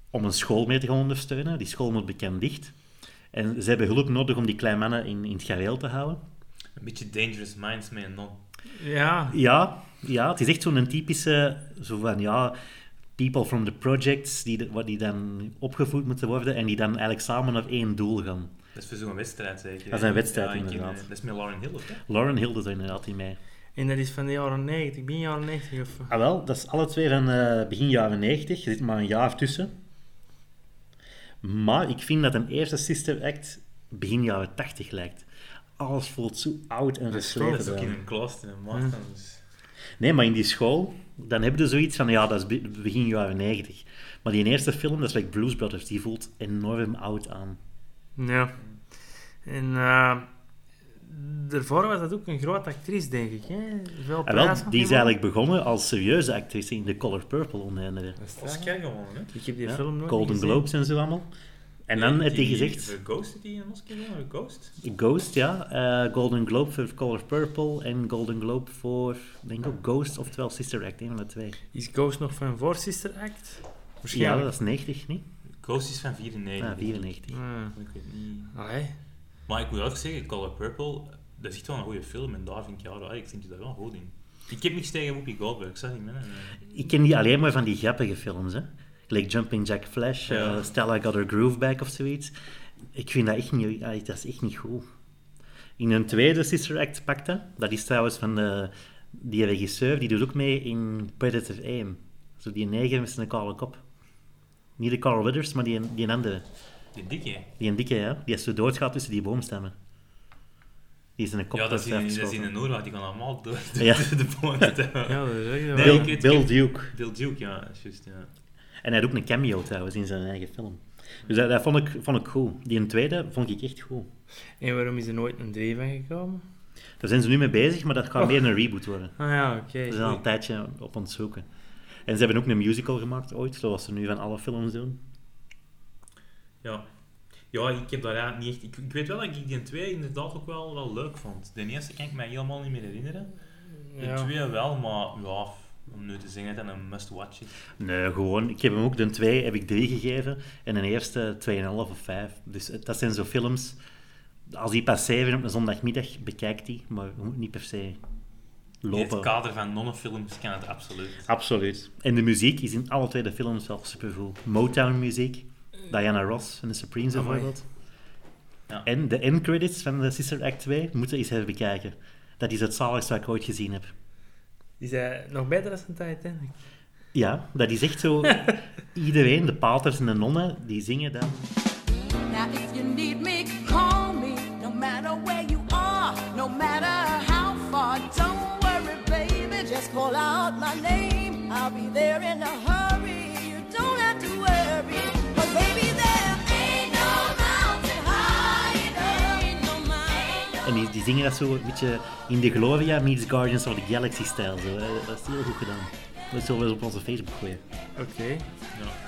Speaker 3: om een school mee te gaan ondersteunen. Die school moet bekend dicht. En ze hebben hulp nodig om die kleine mannen in, in het gareel te houden.
Speaker 1: Een beetje Dangerous Minds met een non.
Speaker 2: Ja.
Speaker 3: Ja, ja het is echt zo'n typische, zo van ja, people from the projects, die, de- wat die dan opgevoed moeten worden en die dan eigenlijk samen naar één doel gaan.
Speaker 1: Dat is voor zo'n wedstrijd zeker.
Speaker 3: Dat is een wedstrijd,
Speaker 1: ik ken,
Speaker 3: inderdaad.
Speaker 1: eh, Dat is met Lauren Hill ook, hè?
Speaker 3: Lauren Hilde is er inderdaad in mee.
Speaker 2: En dat is van de jaren 90, begin jaren 90 of... eh,
Speaker 3: Ah wel, dat is alle twee van eh, begin jaren 90. Er zit maar een jaar tussen. Maar ik vind dat een eerste Sister Act begin jaren 80 lijkt. Alles voelt zo oud en
Speaker 1: Dat is ook in
Speaker 3: versleten.
Speaker 1: een klooster in
Speaker 3: Hm.
Speaker 1: Maarten. Dus.
Speaker 3: Nee, maar in die school, dan hebben ze zoiets van, ja, dat is be- begin jaren 90. Maar die eerste film, dat is like Blues Brothers, die voelt enorm oud aan.
Speaker 2: Ja. En eh, daarvoor was dat ook een grote actrice, denk ik. Hè? Veel
Speaker 3: En
Speaker 2: prijs nog
Speaker 3: wel, die is
Speaker 2: gewonnen.
Speaker 3: eigenlijk begonnen als serieuze actrice in The Color Purple, onder andere.
Speaker 1: Oscar gewonnen, hè?
Speaker 2: Ik heb die
Speaker 3: Ja,
Speaker 2: film nooit
Speaker 3: Golden
Speaker 2: gezien.
Speaker 3: Globes en zo allemaal. En dan heb je
Speaker 1: Die-
Speaker 3: gezegd...
Speaker 1: voor Ghost heeft die een Oscar gewonnen? voor Ghost?
Speaker 3: Ghost, ja. Eh, Golden Globe voor Color Purple en Golden Globe voor, denk ik ook Ghost, oftewel Sister Act, een van de twee.
Speaker 2: Is Ghost nog van voor Sister Act?
Speaker 3: Ja,
Speaker 2: Waarschijnlijk.
Speaker 3: dat is 90, niet?
Speaker 1: Ghost is van 94.
Speaker 3: Ah, 94.
Speaker 2: Ja.
Speaker 1: Ik weet niet.
Speaker 2: Allee.
Speaker 1: Maar ik moet ook zeggen, Color Purple, dat is echt wel een goede film. En daar vind ik, ja, daar- ik vind je daar wel goed in. Ik heb niks tegen Whoopi Goldberg, ik zag niet meer.
Speaker 3: Ik ken die alleen maar van die grappige films, hè. Like Jumping Jack Flash,
Speaker 1: Ja.
Speaker 3: eh, Stella Got Her Groove Back of zoiets. Ik vind dat echt niet, ah, dat is echt niet goed. In een tweede Sister Act pakte, dat is trouwens van de, die regisseur, die doet ook mee in Predator 1. Zo die neger met zijn kale kop. Niet de Carl Weathers, maar die, die andere.
Speaker 1: Die dikke.
Speaker 3: Die een dikke, ja. Die is zo doodgaat tussen die boomstammen. Die is in een kop
Speaker 1: Ja, dat is
Speaker 3: eraf
Speaker 1: in, dat is in
Speaker 3: geschoten.
Speaker 1: de Noorlaag, die gaan allemaal door de,
Speaker 3: Ja.
Speaker 1: de, de bomen.
Speaker 2: Ja, dat is echt
Speaker 1: Nee,
Speaker 2: wel-
Speaker 1: ik
Speaker 3: Bill,
Speaker 1: weet-
Speaker 3: Bill
Speaker 1: ik-
Speaker 3: Duke.
Speaker 1: Bill Duke, ja, dat is juist, ja.
Speaker 3: En hij doet ook een cameo trouwens in zijn eigen film. Dus dat, dat vond, ik, vond ik goed. Die tweede vond ik echt goed.
Speaker 2: En waarom is er nooit een 3 van gekomen?
Speaker 3: Daar zijn ze nu mee bezig, maar dat gaat
Speaker 2: Oh.
Speaker 3: meer een reboot worden.
Speaker 2: Ah ja, oké.
Speaker 3: Ze zijn al een tijdje op aan het zoeken. En ze hebben ook een musical gemaakt ooit, zoals ze nu van alle films doen.
Speaker 1: Ja. Ja, ik heb daar eigenlijk niet echt... Ik, ik weet wel dat ik die twee inderdaad ook wel, wel leuk vond. De eerste kan ik mij helemaal niet meer herinneren. De
Speaker 2: Ja.
Speaker 1: twee wel, maar ja, f- om nu te zeggen dat het een must-watch is.
Speaker 3: Nee, gewoon. Ik heb hem ook de twee, heb ik drie gegeven. En de eerste 2,5 of 5. Dus het- dat zijn zo films. Als die passeren op een zondagmiddag, bekijk die. Maar je moet niet per se
Speaker 1: In het
Speaker 3: lopen.
Speaker 1: kader van nonnenfilms kan het absoluut.
Speaker 3: Absoluut. En de muziek is in alle twee de films wel supergoed. Motown-muziek. Diana Ross en de Supremes
Speaker 2: Amai.
Speaker 3: bijvoorbeeld.
Speaker 1: Ja.
Speaker 3: En de end credits van de Sister Act 2 moeten eens even bekijken. Dat is het zaligste wat ik ooit gezien heb.
Speaker 2: Die zijn nog beter dan Titanic.
Speaker 3: Ja, dat is echt zo. Iedereen, de paters en de nonnen, die zingen dan.
Speaker 4: Now, if you need me, call me. No matter where you are, no matter how far. Don't worry, baby. Just call out my name. I'll be there in a hurry. You don't have to worry. But, baby, there ain't no mountain high enough. Ain't no mountain.
Speaker 3: En die, die zingen dat zo een beetje in de Gloria meets Guardians of the Galaxy-stijl. zo. Eh, Dat is heel goed gedaan. Dat zullen we eens op onze Facebook gooien.
Speaker 2: Oké.
Speaker 1: Ja.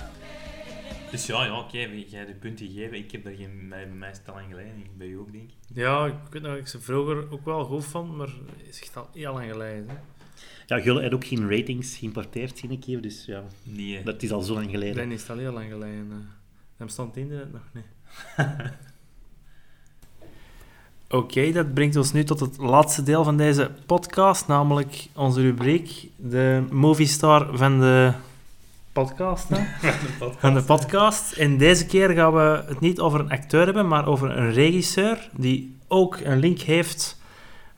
Speaker 1: Dus ja, ja oké, jij jij hebt de punten gegeven. Ik heb daar geen, bij bij mij is het al lang geleden, Ik- bij jou ook denk ik.
Speaker 2: Ja, ik weet nog dat ik ze vroeger ook wel goed vond, maar is echt al heel lang geleden. hè.
Speaker 3: Ja, Gullen had ook geen ratings geïmporteerd, zie ik hier. Dus ja,
Speaker 1: Nee. hè.
Speaker 3: dat is al zo lang geleden.
Speaker 2: Dan is het al heel lang geleden. eh. Dan bestond internet nog niet. Oké, dat brengt ons nu tot het laatste deel van deze podcast, namelijk onze rubriek, de movie star van de podcast. Hè? Van de podcast. En deze keer gaan we het niet over een acteur hebben, maar over een regisseur die ook een link heeft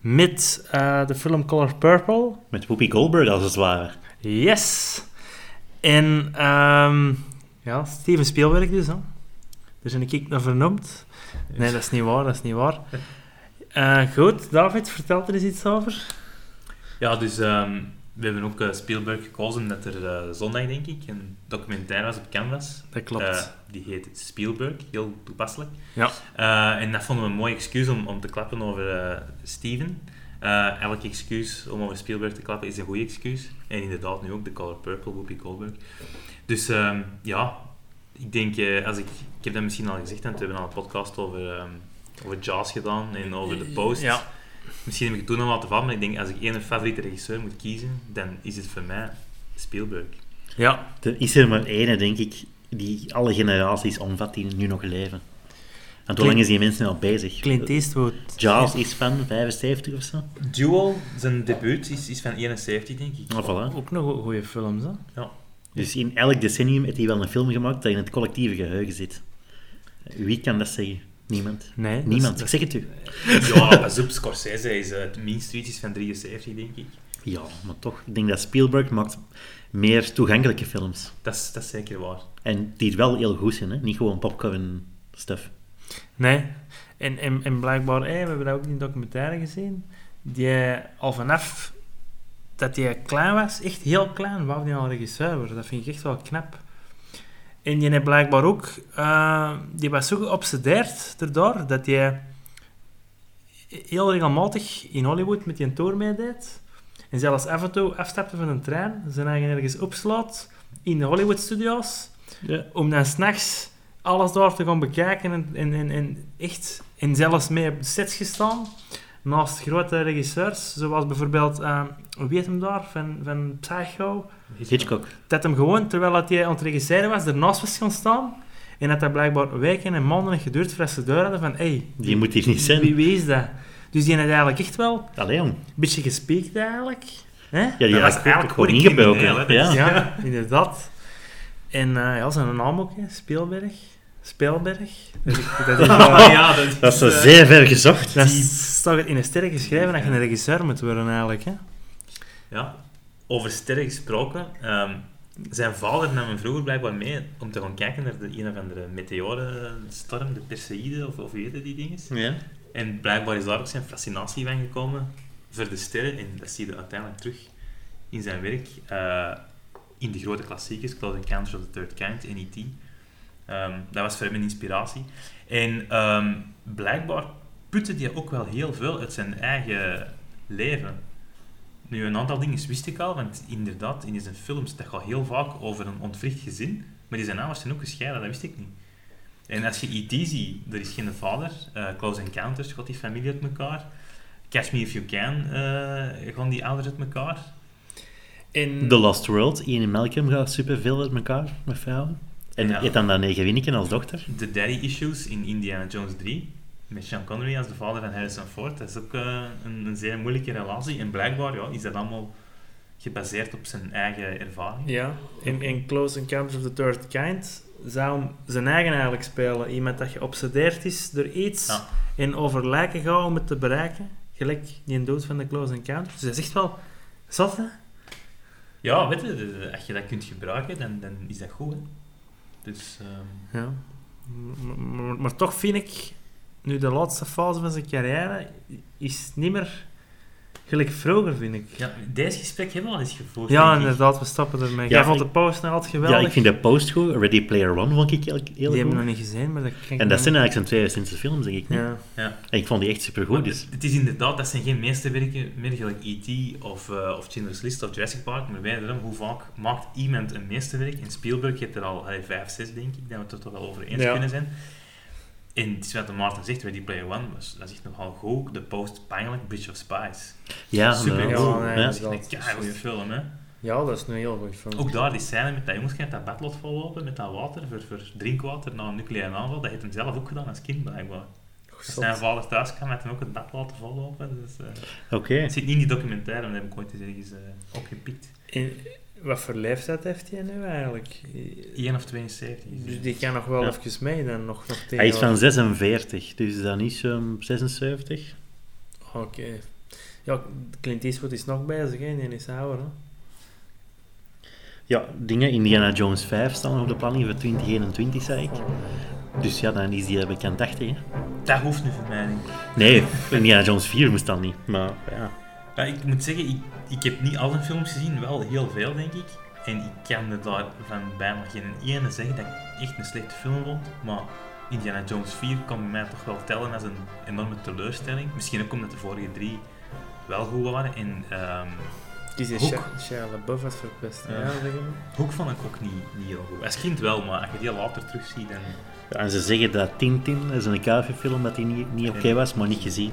Speaker 2: met eh, de film Color Purple.
Speaker 3: Met Whoopi Goldberg, als het ware.
Speaker 2: Yes! En ehm, ja, Steven Spielberg dus. Hè? Daar zijn ik naar vernoemd. Nee, dat is niet waar, dat is niet waar. Eh, goed, David, vertel er eens iets over.
Speaker 1: Ja, dus ehm, we hebben ook eh, Spielberg gekozen omdat er eh, zondag, denk ik, een documentaire was op Canvas.
Speaker 2: Dat
Speaker 1: Eh, die heet Spielberg, heel toepasselijk.
Speaker 2: Ja.
Speaker 1: Eh, en dat vonden we een mooi excuus om, om te klappen over eh, Steven. Eh, elk excuus om over Spielberg te klappen is een goed excuus. En inderdaad nu ook de Color Purple, Whoopi Goldberg. Dus ehm, ja, ik denk, eh, als ik, ik heb dat misschien al gezegd, want we hebben al een podcast over, ehm over Jaws gedaan en over de Post.
Speaker 2: Ja.
Speaker 1: Misschien heb ik het toen al laten vallen, maar ik denk, als ik één favoriete regisseur moet kiezen, dan is het voor mij Spielberg.
Speaker 2: ja,
Speaker 3: Er is er maar één, denk ik, die alle generaties omvat die nu nog leven. Want hoe lang is die mensen al bezig?
Speaker 2: Clint Eastwood.
Speaker 3: Jaws is van 75 of zo.
Speaker 1: Duel, zijn debuut, is, is van 71, denk ik.
Speaker 3: Ah, voilà.
Speaker 2: Ook nog goede films, hè?
Speaker 3: Dus in elk decennium heeft hij wel een film gemaakt dat in het collectieve geheugen zit. Wie kan dat zeggen? Niemand.
Speaker 2: Nee. dat is-
Speaker 3: Niemand,
Speaker 2: dat
Speaker 3: ik
Speaker 2: is-
Speaker 3: zeg het u.
Speaker 1: Ja, pas op, Scorsese is eh, het minst iets is van 73, denk ik.
Speaker 3: Ja, maar toch. Ik denk dat Spielberg maakt meer toegankelijke films.
Speaker 1: Dat is, dat is zeker waar.
Speaker 3: En die wel heel goed zijn, hè? niet gewoon popcorn stuff.
Speaker 2: Nee. En, en, en blijkbaar, hé, we hebben dat ook in een documentaire gezien, die eh, al vanaf dat hij klein was, echt heel klein, wou die al regisseur worden. Dat vind ik echt wel knap. En die heeft blijkbaar ook, eh, die was zo geobsedeerd erdoor, dat hij heel regelmatig in Hollywood met die tour meedeed. En zelfs af en toe afstapte van een trein, zijn eigen ergens opslaat in de Hollywood-studio's
Speaker 3: Ja.
Speaker 2: om dan s'nachts alles daar te gaan bekijken en, en, en, en echt en zelfs mee op de sets gestaan naast grote regisseurs zoals bijvoorbeeld eh, hoe heet hem daar van, van Psycho
Speaker 3: Hitchcock.
Speaker 2: dat hem gewoon terwijl dat hij aan het regisseren was ernaast was gaan staan en dat dat blijkbaar weken en maanden heeft geduurd voordat ze door hadden van hey,
Speaker 3: Die moet hier niet zijn.
Speaker 2: wie, wie is dat? Dus die had eigenlijk echt wel een
Speaker 3: Allee, jong.
Speaker 2: beetje gespiekt eigenlijk hè?
Speaker 3: Ja, die
Speaker 1: Dat was
Speaker 3: had
Speaker 1: eigenlijk
Speaker 3: gewoon
Speaker 1: gewoon een crimineel, hè.
Speaker 3: ingebroken. Ja.
Speaker 2: Ja, inderdaad. En eh, ja, zijn naam ook, hè. Speelberg. Speelberg. Dat is, dat is wel-
Speaker 1: ja, Ah, dat,
Speaker 3: Dat is
Speaker 1: eh,
Speaker 3: zeer ver gezocht.
Speaker 2: dat staat in een sterren geschreven dat je een regisseur moet worden, eigenlijk. Hè?
Speaker 1: ja. Over sterren gesproken. ehm, zijn vader nam hem vroeger blijkbaar mee om te gaan kijken naar de een of andere meteorenstorm, de Perseïde of, of weet je die dingen.
Speaker 3: Ja.
Speaker 1: En blijkbaar is daar ook zijn fascinatie van gekomen voor de sterren. En dat zie je uiteindelijk terug in zijn werk. eh, in de grote klassiekers, Close Encounters of the Third Kind en E.T. Ehm, dat was voor hem een inspiratie. En ehm, blijkbaar putte hij ook wel heel veel uit zijn eigen leven. Nu, een aantal dingen wist ik al, want inderdaad, in zijn films, dat gaat heel vaak over een ontwricht gezin, maar die zijn ouders zijn ook gescheiden, dat wist ik niet. En als je E.T. ziet, er is geen vader, eh, Close Encounters, gaat die familie uit elkaar, Catch Me If You Can, eh, gaan die ouders uit elkaar.
Speaker 2: En
Speaker 3: The Lost World, Ian en Malcolm gaan superveel uit elkaar met vrouwen. En
Speaker 1: Ja.
Speaker 3: eet dan dat negen winneken als dochter.
Speaker 1: The Daddy Issues in Indiana Jones 3, met Sean Connery als de vader van Harrison Ford, dat is ook eh, een, een zeer moeilijke relatie. En blijkbaar ja, is dat allemaal gebaseerd op zijn eigen ervaring.
Speaker 2: Ja, in, in Close Encounters of the Third Kind zou hem zijn eigen eigenlijk spelen. Iemand dat geobsedeerd is door iets
Speaker 1: Ja.
Speaker 2: en over lijken gaat om het te bereiken. Gelijk die een dood van de Close Encounters. Dus hij zegt wel, zat hè?
Speaker 1: Ja, weet je, de- de- als je dat kunt gebruiken, dan, dan is dat goed. Hè? Dus, ehm,
Speaker 2: Ja. Maar, maar- maar toch vind ik, nu de laatste fase van zijn carrière, is niet meer gelijk vroeger, vind ik.
Speaker 1: ja, deze gesprek hebben we al eens gevoerd.
Speaker 2: Ja,
Speaker 1: denk ik.
Speaker 2: inderdaad, we stappen ermee.
Speaker 3: Ja,
Speaker 2: Jij vond
Speaker 3: ik-
Speaker 2: de pauze nou altijd geweldig.
Speaker 3: Ja, ik vind de post goed. Ready Player One vond ik heel, heel
Speaker 2: Die hebben we nog
Speaker 3: goed.
Speaker 2: niet gezien, maar dat kan ik
Speaker 3: En dat
Speaker 2: me-
Speaker 3: zijn eigenlijk zijn twee recente films, denk ik. niet?
Speaker 2: Ja.
Speaker 3: En ik vond die echt supergoed.
Speaker 1: Maar
Speaker 3: Dus
Speaker 1: Het, het is inderdaad, dat zijn geen meesterwerken meer gelijk E.T. of, eh of Schindler's List of Jurassic Park, maar wij daarom, hoe vaak maakt iemand een meesterwerk? En Spielberg heeft er al hey, vijf, zes, denk ik, dat we het er toch wel over eens
Speaker 2: Ja.
Speaker 1: kunnen zijn. En het is wat de Maarten zegt, Ready Player One, was, dat is echt nogal goed. De post pijnlijk, Bridge of Spies.
Speaker 3: ja, nou,
Speaker 1: Super
Speaker 3: inderdaad.
Speaker 1: goed.
Speaker 2: Ja, nee,
Speaker 3: Ja.
Speaker 1: Dat is echt een
Speaker 2: inderdaad.
Speaker 1: keigoede film, hè.
Speaker 2: ja, dat is een heel goed film.
Speaker 1: Ook daar, die scène met dat jongetje dat dat badlot vollopen, met dat water, voor, voor drinkwater na een nucleaire aanval, dat heeft hem zelf ook gedaan als kind, blijkbaar. Als zijn vader thuis kwam, had hem ook het bad laten vollopen. Dus, eh,
Speaker 3: Oké.
Speaker 1: Het zit niet in die documentaire, maar dat heb ik ooit eens ergens eh, opgepikt.
Speaker 2: En wat voor leeftijd heeft hij nu eigenlijk?
Speaker 1: 1 of 72. is
Speaker 2: Dus
Speaker 1: het.
Speaker 2: die kan nog wel
Speaker 3: Ja.
Speaker 2: even mee dan nog, nog tegen.
Speaker 3: Hij is van 46, dus dan is hij 76.
Speaker 2: Oké. Ja, Clint Eastwood is nog bezig, hè? Die is ouder, hè?
Speaker 3: Ja, dingen. Indiana Jones 5 staan nog op de planning voor 2021, zei ik. Dus ja, dan is die bekend 80, hè.
Speaker 1: Dat hoeft nu voor mij niet.
Speaker 3: Nee, Indiana Jones 4 moest dan niet. Maar ja.
Speaker 1: Maar ik moet zeggen, ik, ik heb niet al zijn films gezien, wel heel veel denk ik. En ik kan er daarvan bijna geen ene zeggen dat ik echt een slechte film vond. Maar Indiana Jones 4 kan bij mij toch wel tellen als een enorme teleurstelling. Misschien ook omdat de vorige drie wel goed waren. En ehm
Speaker 2: Die is
Speaker 1: Hoek.
Speaker 2: Sha- Shia LaBeouf als verpest. Ja,
Speaker 1: Ja.
Speaker 2: zeg maar.
Speaker 1: Hoek vond ik ook niet, niet heel goed. Als kind wel, maar als je die later terugziet, dan...
Speaker 3: En ze zeggen dat Tintin, dat is een KV-film, dat die niet, niet oké was, maar niet gezien.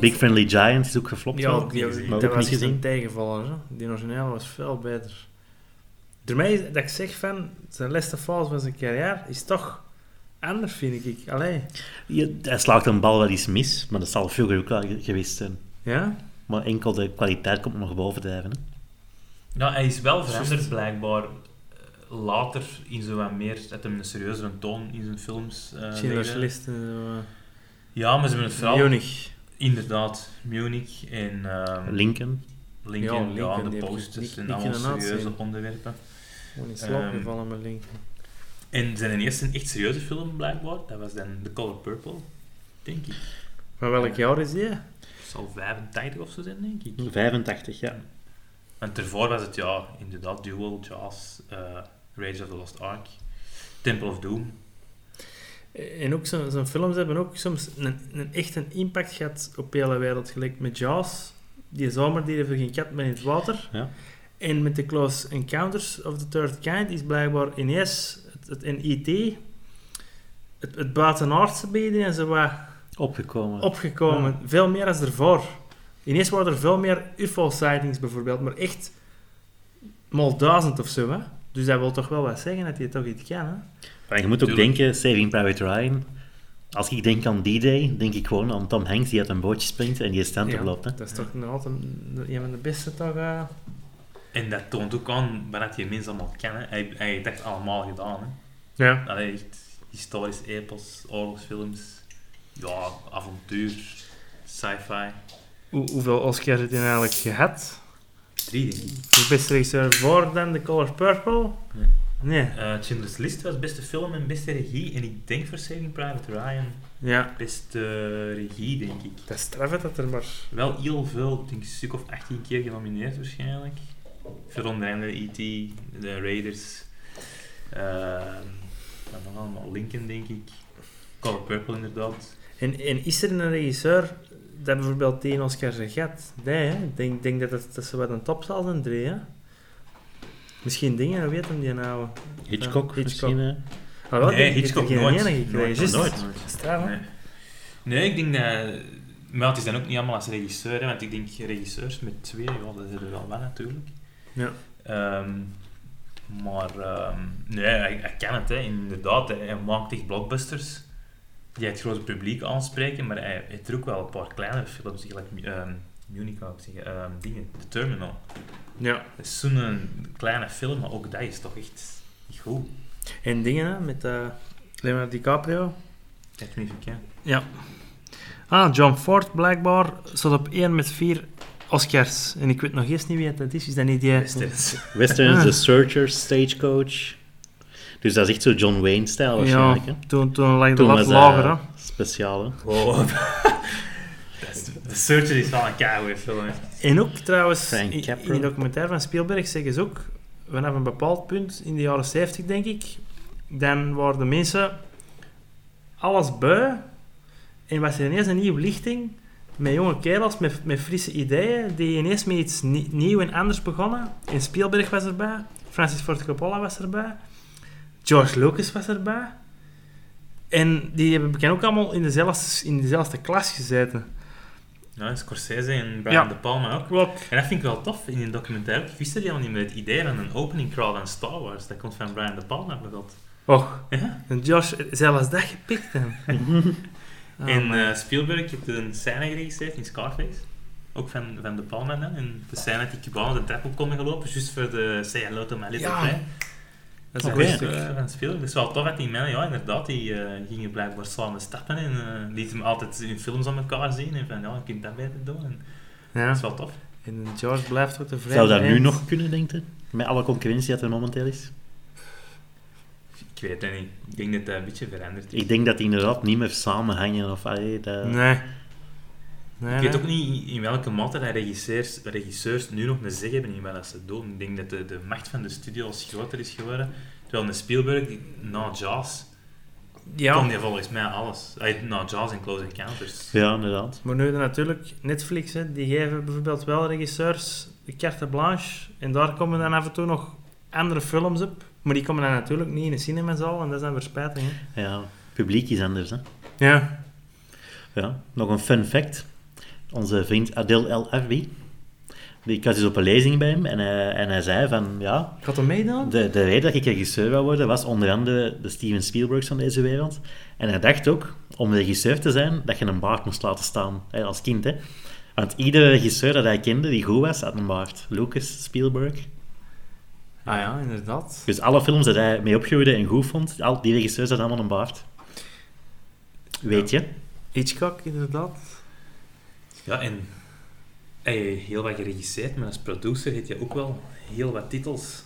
Speaker 3: Big Friendly Giant is ook geflopt.
Speaker 2: Ja,
Speaker 3: wel.
Speaker 2: die,
Speaker 1: niet gezien.
Speaker 3: Maar
Speaker 2: dat
Speaker 3: ook
Speaker 2: was
Speaker 3: niet
Speaker 2: echt een
Speaker 3: gezien.
Speaker 2: tegenvaller. Hè? Die originele was veel beter. Door mij, is- dat ik zeg van, zijn laatste fase van zijn carrière is toch anders, vind ik. Allee.
Speaker 3: Ja, hij slaagt een bal wel eens mis, maar dat zal veel geluk wel ge- geweest zijn.
Speaker 2: Ja?
Speaker 3: Maar enkel de kwaliteit komt nog bovendrijven. Hè.
Speaker 1: Nou, hij is wel veranderd blijkbaar eh, later in zo wat meer, dat hem een serieuzere toon in zijn films eh,
Speaker 2: Schindler's
Speaker 1: legde.
Speaker 2: List eh, en zo.
Speaker 1: Ja, maar ze hebben het
Speaker 2: eh,
Speaker 1: vooral...
Speaker 2: Munich.
Speaker 1: Inderdaad, Munich en ehm,
Speaker 3: Lincoln.
Speaker 1: Lincoln,
Speaker 2: Ja,
Speaker 1: ja,
Speaker 2: Lincoln,
Speaker 1: de
Speaker 2: die heb ik
Speaker 1: posters
Speaker 2: niet-
Speaker 1: en
Speaker 2: niet
Speaker 1: allemaal
Speaker 2: kunnen
Speaker 1: serieuze
Speaker 2: uitzien.
Speaker 1: onderwerpen.
Speaker 2: Gewoon in slaap
Speaker 1: slaap
Speaker 2: gevallen
Speaker 1: gevallen
Speaker 2: met Lincoln.
Speaker 1: En zijn eerste echt serieuze film blijkbaar, dat was dan The Color Purple, denk ik.
Speaker 2: Maar welk jaar is die?
Speaker 1: Het zal 85 of zo zijn, denk ik.
Speaker 3: 85, ja.
Speaker 1: Want ervoor was het ja, inderdaad, Duel, Jaws, eh, Rage of the Lost Ark, Temple of Doom.
Speaker 2: En ook zo'n zo'n films hebben ook soms een, een echt een impact gehad op de hele wereld. Gelijk met Jaws, die zomerdieren geen kat met in het water.
Speaker 3: Ja.
Speaker 2: En met de Close Encounters of the Third Kind is blijkbaar ineens het, het NIT, het, het buitenaardse bieden en zo wat
Speaker 3: Opgekomen.
Speaker 2: opgekomen. Veel meer als ervoor. Ineens waren er veel meer UFO-sightings bijvoorbeeld, maar echt mal duizend of zo. Hè? Dus dat wil toch wel wat zeggen dat je toch iets kan. Hè?
Speaker 3: Maar je moet ook
Speaker 1: Tuurlijk.
Speaker 3: denken, Saving Private Ryan. Als ik denk aan D-Day, denk ik gewoon aan Tom Hanks die uit een bootje springt en die stand
Speaker 2: Ja,
Speaker 3: loopt. Hè.
Speaker 2: Dat is toch nog altijd een een van de beste toch? eh?
Speaker 1: En dat toont ook aan wat die mensen allemaal kennen. Hij, hij heeft echt allemaal gedaan. Hè.
Speaker 2: Ja.
Speaker 1: Allee, echt historisch epos, oorlogsfilms, ja, avontuur, sci-fi.
Speaker 2: Hoe, hoeveel Oscars heeft hij eigenlijk gehad?
Speaker 1: Drie, denk ik.
Speaker 2: De beste regisseur voor dan The Color Purple?
Speaker 1: Nee.
Speaker 2: Nee.
Speaker 1: Eh, Schindler's List was beste film en beste regie. En ik denk voor Saving Private Ryan
Speaker 2: Ja.
Speaker 1: beste regie, denk ik.
Speaker 2: Dat is straf hè, dat er maar...
Speaker 1: Wel heel veel, ik denk een stuk of 18 keer genomineerd waarschijnlijk. E Voor onder andere E.T., de Raiders, ehm, En dan allemaal Lincoln, denk ik. Color Purple, inderdaad.
Speaker 2: En, en is er een regisseur dat bijvoorbeeld die Oscar gaat? Nee, hè? ik denk, denk dat, dat, dat ze wat een topzaal zijn drie, hè? Misschien dingen, hoe weet hem die nou?
Speaker 3: Hitchcock,
Speaker 2: Ja, Hitchcock.
Speaker 3: misschien. eh.
Speaker 2: Ah, wel,
Speaker 1: nee,
Speaker 2: die- die
Speaker 1: Hitchcock
Speaker 2: heeft er
Speaker 1: nooit.
Speaker 2: geen ene gekregen, juist.
Speaker 1: nooit. nooit.
Speaker 2: Straf, hè?
Speaker 1: Nee. nee, ik denk dat... Maar het is dan ook niet allemaal als regisseur, hè, want ik denk regisseurs met twee, ja, dat zijn er wel wel natuurlijk.
Speaker 2: Ja.
Speaker 1: Ehm, maar ehm, nee, hij, hij kan het, hè, inderdaad. Hij, hij maakt echt blockbusters die het grote publiek aanspreken, maar hij heeft er ook wel een paar kleinere films, gelijk ehm Munich, wou ik zeggen, ehm, dingen, The Terminal.
Speaker 2: Ja.
Speaker 1: Dat is zo'n een kleine film, maar ook dat is toch echt niet goed.
Speaker 2: En dingen, hè, met eh, Leonardo DiCaprio.
Speaker 1: Dat is niet verkeerd.
Speaker 2: Ja. Ah, John Ford, blijkbaar, staat op 1 met 4 Oscars. En ik weet nog eerst niet wie dat is. Is dat niet die...
Speaker 1: Westerns.
Speaker 3: Westerns,
Speaker 2: Ah.
Speaker 3: The Searchers, Stagecoach. Dus dat is echt zo John Wayne-stijl
Speaker 2: Ja,
Speaker 3: waarschijnlijk. hè.
Speaker 2: toen, toen lag de
Speaker 3: Toen
Speaker 2: lat
Speaker 3: was eh, dat
Speaker 2: lager, hè.
Speaker 3: speciaal. hè.
Speaker 1: Wow. Dat is- The Searcher is wel een keigoede film. hè.
Speaker 2: En ook trouwens,
Speaker 3: Frank
Speaker 2: in, in
Speaker 3: Capra.
Speaker 2: die documentaire van Spielberg zeggen ze ook, vanaf een bepaald punt in de jaren 70 denk ik, dan waren de mensen alles bui en was er ineens een nieuwe lichting met jonge kerels, met, met frisse ideeën, die ineens met iets ni- nieuw en anders begonnen. En Spielberg was erbij, Francis Ford Coppola was erbij, George Lucas was erbij. En die hebben bekend ook allemaal in dezelfde, in dezelfde klas gezeten.
Speaker 1: Nou, Scorsese en Brian
Speaker 2: Ja.
Speaker 1: De Palma ook.
Speaker 2: Klopt.
Speaker 1: En dat vind ik wel tof in een documentaire. Ik wist er helemaal niet met het idee van een opening crawl aan Star Wars. Dat komt van Brian De Palma bijvoorbeeld.
Speaker 2: Och,
Speaker 1: Ja.
Speaker 2: En Josh, zelfs dat gepikt hem. Oh,
Speaker 1: en
Speaker 2: man.
Speaker 1: eh, Spielberg heeft een scène geregistreerd in Scarface. Ook van, van De Palma dan. En de scène dat die Cubanen de trap op komen gelopen. Juist voor de Say Hello to My Little
Speaker 2: Ja.
Speaker 1: Friend. Dat is
Speaker 2: Oké.
Speaker 1: een goed stuk van Spielberg. Dat is wel tof dat die mannen, ja inderdaad, die eh, gingen blijkbaar samen stappen. En eh lieten hem altijd in films aan elkaar zien. En van, ja, je kunt dat beter doen. En dat
Speaker 2: ja.
Speaker 1: is wel tof.
Speaker 2: En George blijft ook de vrij.
Speaker 3: Zou dat nu nog kunnen, denk je? Met alle concurrentie dat er momenteel is?
Speaker 1: Ik weet het niet. Ik denk dat dat een beetje veranderd is.
Speaker 3: Ik denk dat die inderdaad niet meer samenhangen. Of, allee, dat...
Speaker 2: Nee. nee
Speaker 1: Ik weet ook niet in welke mate dat regisseurs, regisseurs nu nog een zeg hebben in wat ze doen. Ik denk dat de, de macht van de studio's groter is geworden. Terwijl een Spielberg, die- na Jaws, kon
Speaker 2: Ja,
Speaker 1: die volgens mij alles. Ay, Na Jaws en Close Encounters.
Speaker 3: Ja, inderdaad.
Speaker 2: maar nu dan natuurlijk Netflix, hè, die geven bijvoorbeeld wel regisseurs de carte blanche. En daar komen dan af en toe nog andere films op. Maar die komen dan natuurlijk niet in de cinemazaal. En dat is dan weer spijtig, hè.
Speaker 3: Ja, het publiek is anders. Hè?
Speaker 2: Ja.
Speaker 3: Ja. Nog een fun fact. Onze vriend Adil El Arbi. Ik was dus op een lezing bij hem en hij, en hij zei van ja,
Speaker 2: Gaat er meedoen?
Speaker 3: De, de reden dat ik regisseur wil worden was onder andere de Steven Spielbergs van deze wereld. En hij dacht ook, om regisseur te zijn, dat je een baard moest laten staan hè, als kind. Hè. Want iedere regisseur dat hij kende die goed was, had een baard. Lucas, Spielberg.
Speaker 2: Ah ja, inderdaad.
Speaker 3: Dus alle films dat hij mee opgroeide en goed vond, al die regisseurs hadden allemaal een baard. Weet je?
Speaker 2: Hitchcock, inderdaad.
Speaker 1: Ja, en hij heeft heel wat geregisseerd, maar als producer heeft hij ook wel heel wat titels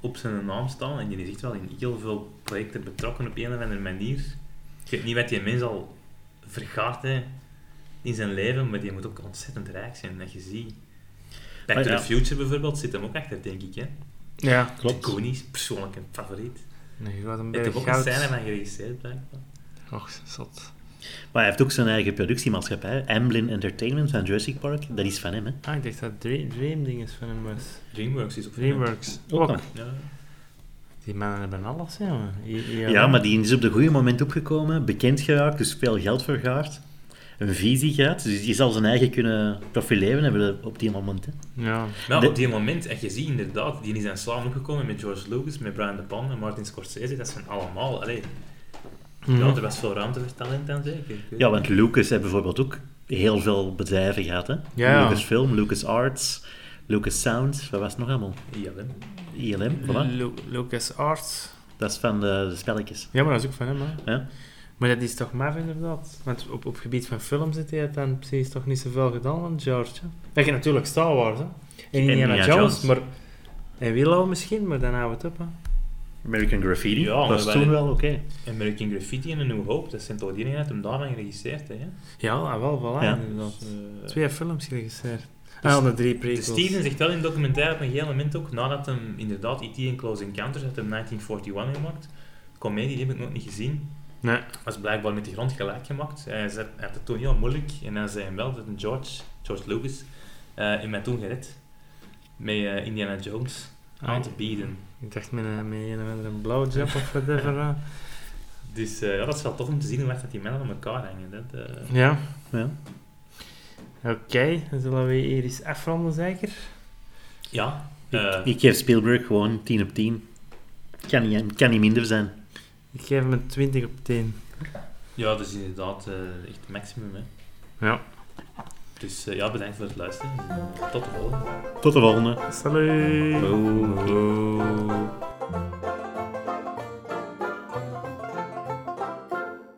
Speaker 1: op zijn naam staan. En je is echt wel in heel veel projecten betrokken op een of andere manier. Ik weet niet wat die mens al vergaart hè, in zijn leven, maar die moet ook ontzettend rijk zijn, dat je ziet. Back
Speaker 3: Maar
Speaker 1: to
Speaker 3: ja.
Speaker 1: the Future bijvoorbeeld zit hem ook achter, denk ik. Hè.
Speaker 2: Ja.
Speaker 1: De Goonies, persoonlijk een favoriet.
Speaker 2: Nu gaat een
Speaker 1: Hij heeft
Speaker 2: beetje
Speaker 1: er ook een
Speaker 2: goud.
Speaker 1: scène van geregisseerd, blijkbaar.
Speaker 2: Och, zot.
Speaker 3: Maar hij heeft ook zijn eigen productiemaatschappij, Amblin Entertainment van Jurassic Park. Dat is van hem, hè.
Speaker 2: Ah, ik dacht dat Dream, Dream ding is van hem was.
Speaker 1: Dreamworks is op
Speaker 2: Dreamworks.
Speaker 3: Ook
Speaker 2: Ook.
Speaker 3: al.
Speaker 1: Ja.
Speaker 2: Die mannen hebben alles, ja. man. I- I-
Speaker 3: Ja, maar die is op de goede moment opgekomen, bekend geraakt, dus veel geld vergaard. Een visie gehad, dus die zal zijn eigen kunnen profileren hebben op die moment. Hè.
Speaker 2: Ja.
Speaker 1: Maar
Speaker 3: De-
Speaker 1: Nou, op die moment, en je ziet inderdaad, die zijn samen opgekomen met George Lucas, met Brian De Palma, en Martin Scorsese, dat zijn allemaal, allee, ja, er was veel ruimte voor talent dan zeker. Ik weet
Speaker 3: Ja,
Speaker 1: het
Speaker 3: want Lucas heeft bijvoorbeeld ook heel veel bedrijven gehad. Hè.
Speaker 2: Ja.
Speaker 3: Lucasfilm, LucasArts, LucasSound, wat was het nog allemaal?
Speaker 1: niet. ILM.
Speaker 3: ILM, voilà.
Speaker 2: Lucas Arts.
Speaker 3: Dat is van de, de spelletjes.
Speaker 2: Ja, maar dat is ook van hem, hè.
Speaker 3: Ja.
Speaker 2: Maar dat is toch maf, inderdaad. Want op, op gebied van films heeft hij het dan precies toch niet zoveel gedaan dan George, hè. Dat je natuurlijk Star Wars, hè. En Indiana
Speaker 3: Indiana
Speaker 2: Jones,
Speaker 3: Jones.
Speaker 2: maar... En Willow misschien, maar dan houden we het op, hè.
Speaker 3: American Graffiti,
Speaker 1: Ja,
Speaker 3: dat
Speaker 1: maar
Speaker 3: was
Speaker 1: wij-
Speaker 3: toen wel oké.
Speaker 1: American Graffiti en een New Hope, dat zijn toch die die hem daarvan geregisseerd hè, hè.
Speaker 2: Ja, ah, wel, voilà,
Speaker 3: Ja. Dus,
Speaker 2: inderdaad.
Speaker 1: Eh,
Speaker 2: Twee films geregisseerd. Ah, de drie
Speaker 1: de
Speaker 2: prequels.
Speaker 1: Steven zegt wel in het E documentaire op een gegeven moment ook, nadat hem inderdaad E.T. en Close Encounters uit hem 1941 gemaakt, comedie, die heb ik nog niet gezien.
Speaker 2: Nee.
Speaker 1: was blijkbaar met de grond gelijk gemaakt. Hij zei- hij had het toen heel moeilijk en hij zei hem wel dat een George, George Lucas, eh in mij toen gered. Met eh, Indiana Jones
Speaker 3: Ah.
Speaker 1: aan te bieden.
Speaker 2: Ik dacht met een, met een, of andere blowjob of whatever. eh.
Speaker 1: Dus eh, ja, dat is wel tof om te zien hoe echt dat die mannen aan elkaar hangen. Dat, eh,
Speaker 2: Ja.
Speaker 3: Ja.
Speaker 2: Oké, dan zullen we hier eens afronden, zeker?
Speaker 1: ja,
Speaker 3: Ik,
Speaker 1: eh,
Speaker 3: ik geef Spielberg gewoon 10 op 10. Kan niet, kan niet minder zijn.
Speaker 2: Ik geef hem een 20 op 10.
Speaker 1: ja, dat is inderdaad eh, echt het maximum. Hè.
Speaker 2: Ja.
Speaker 1: Dus eh, ja, bedankt voor het luisteren. Tot de volgende.
Speaker 3: Tot de volgende.
Speaker 2: Salut!
Speaker 3: Boom.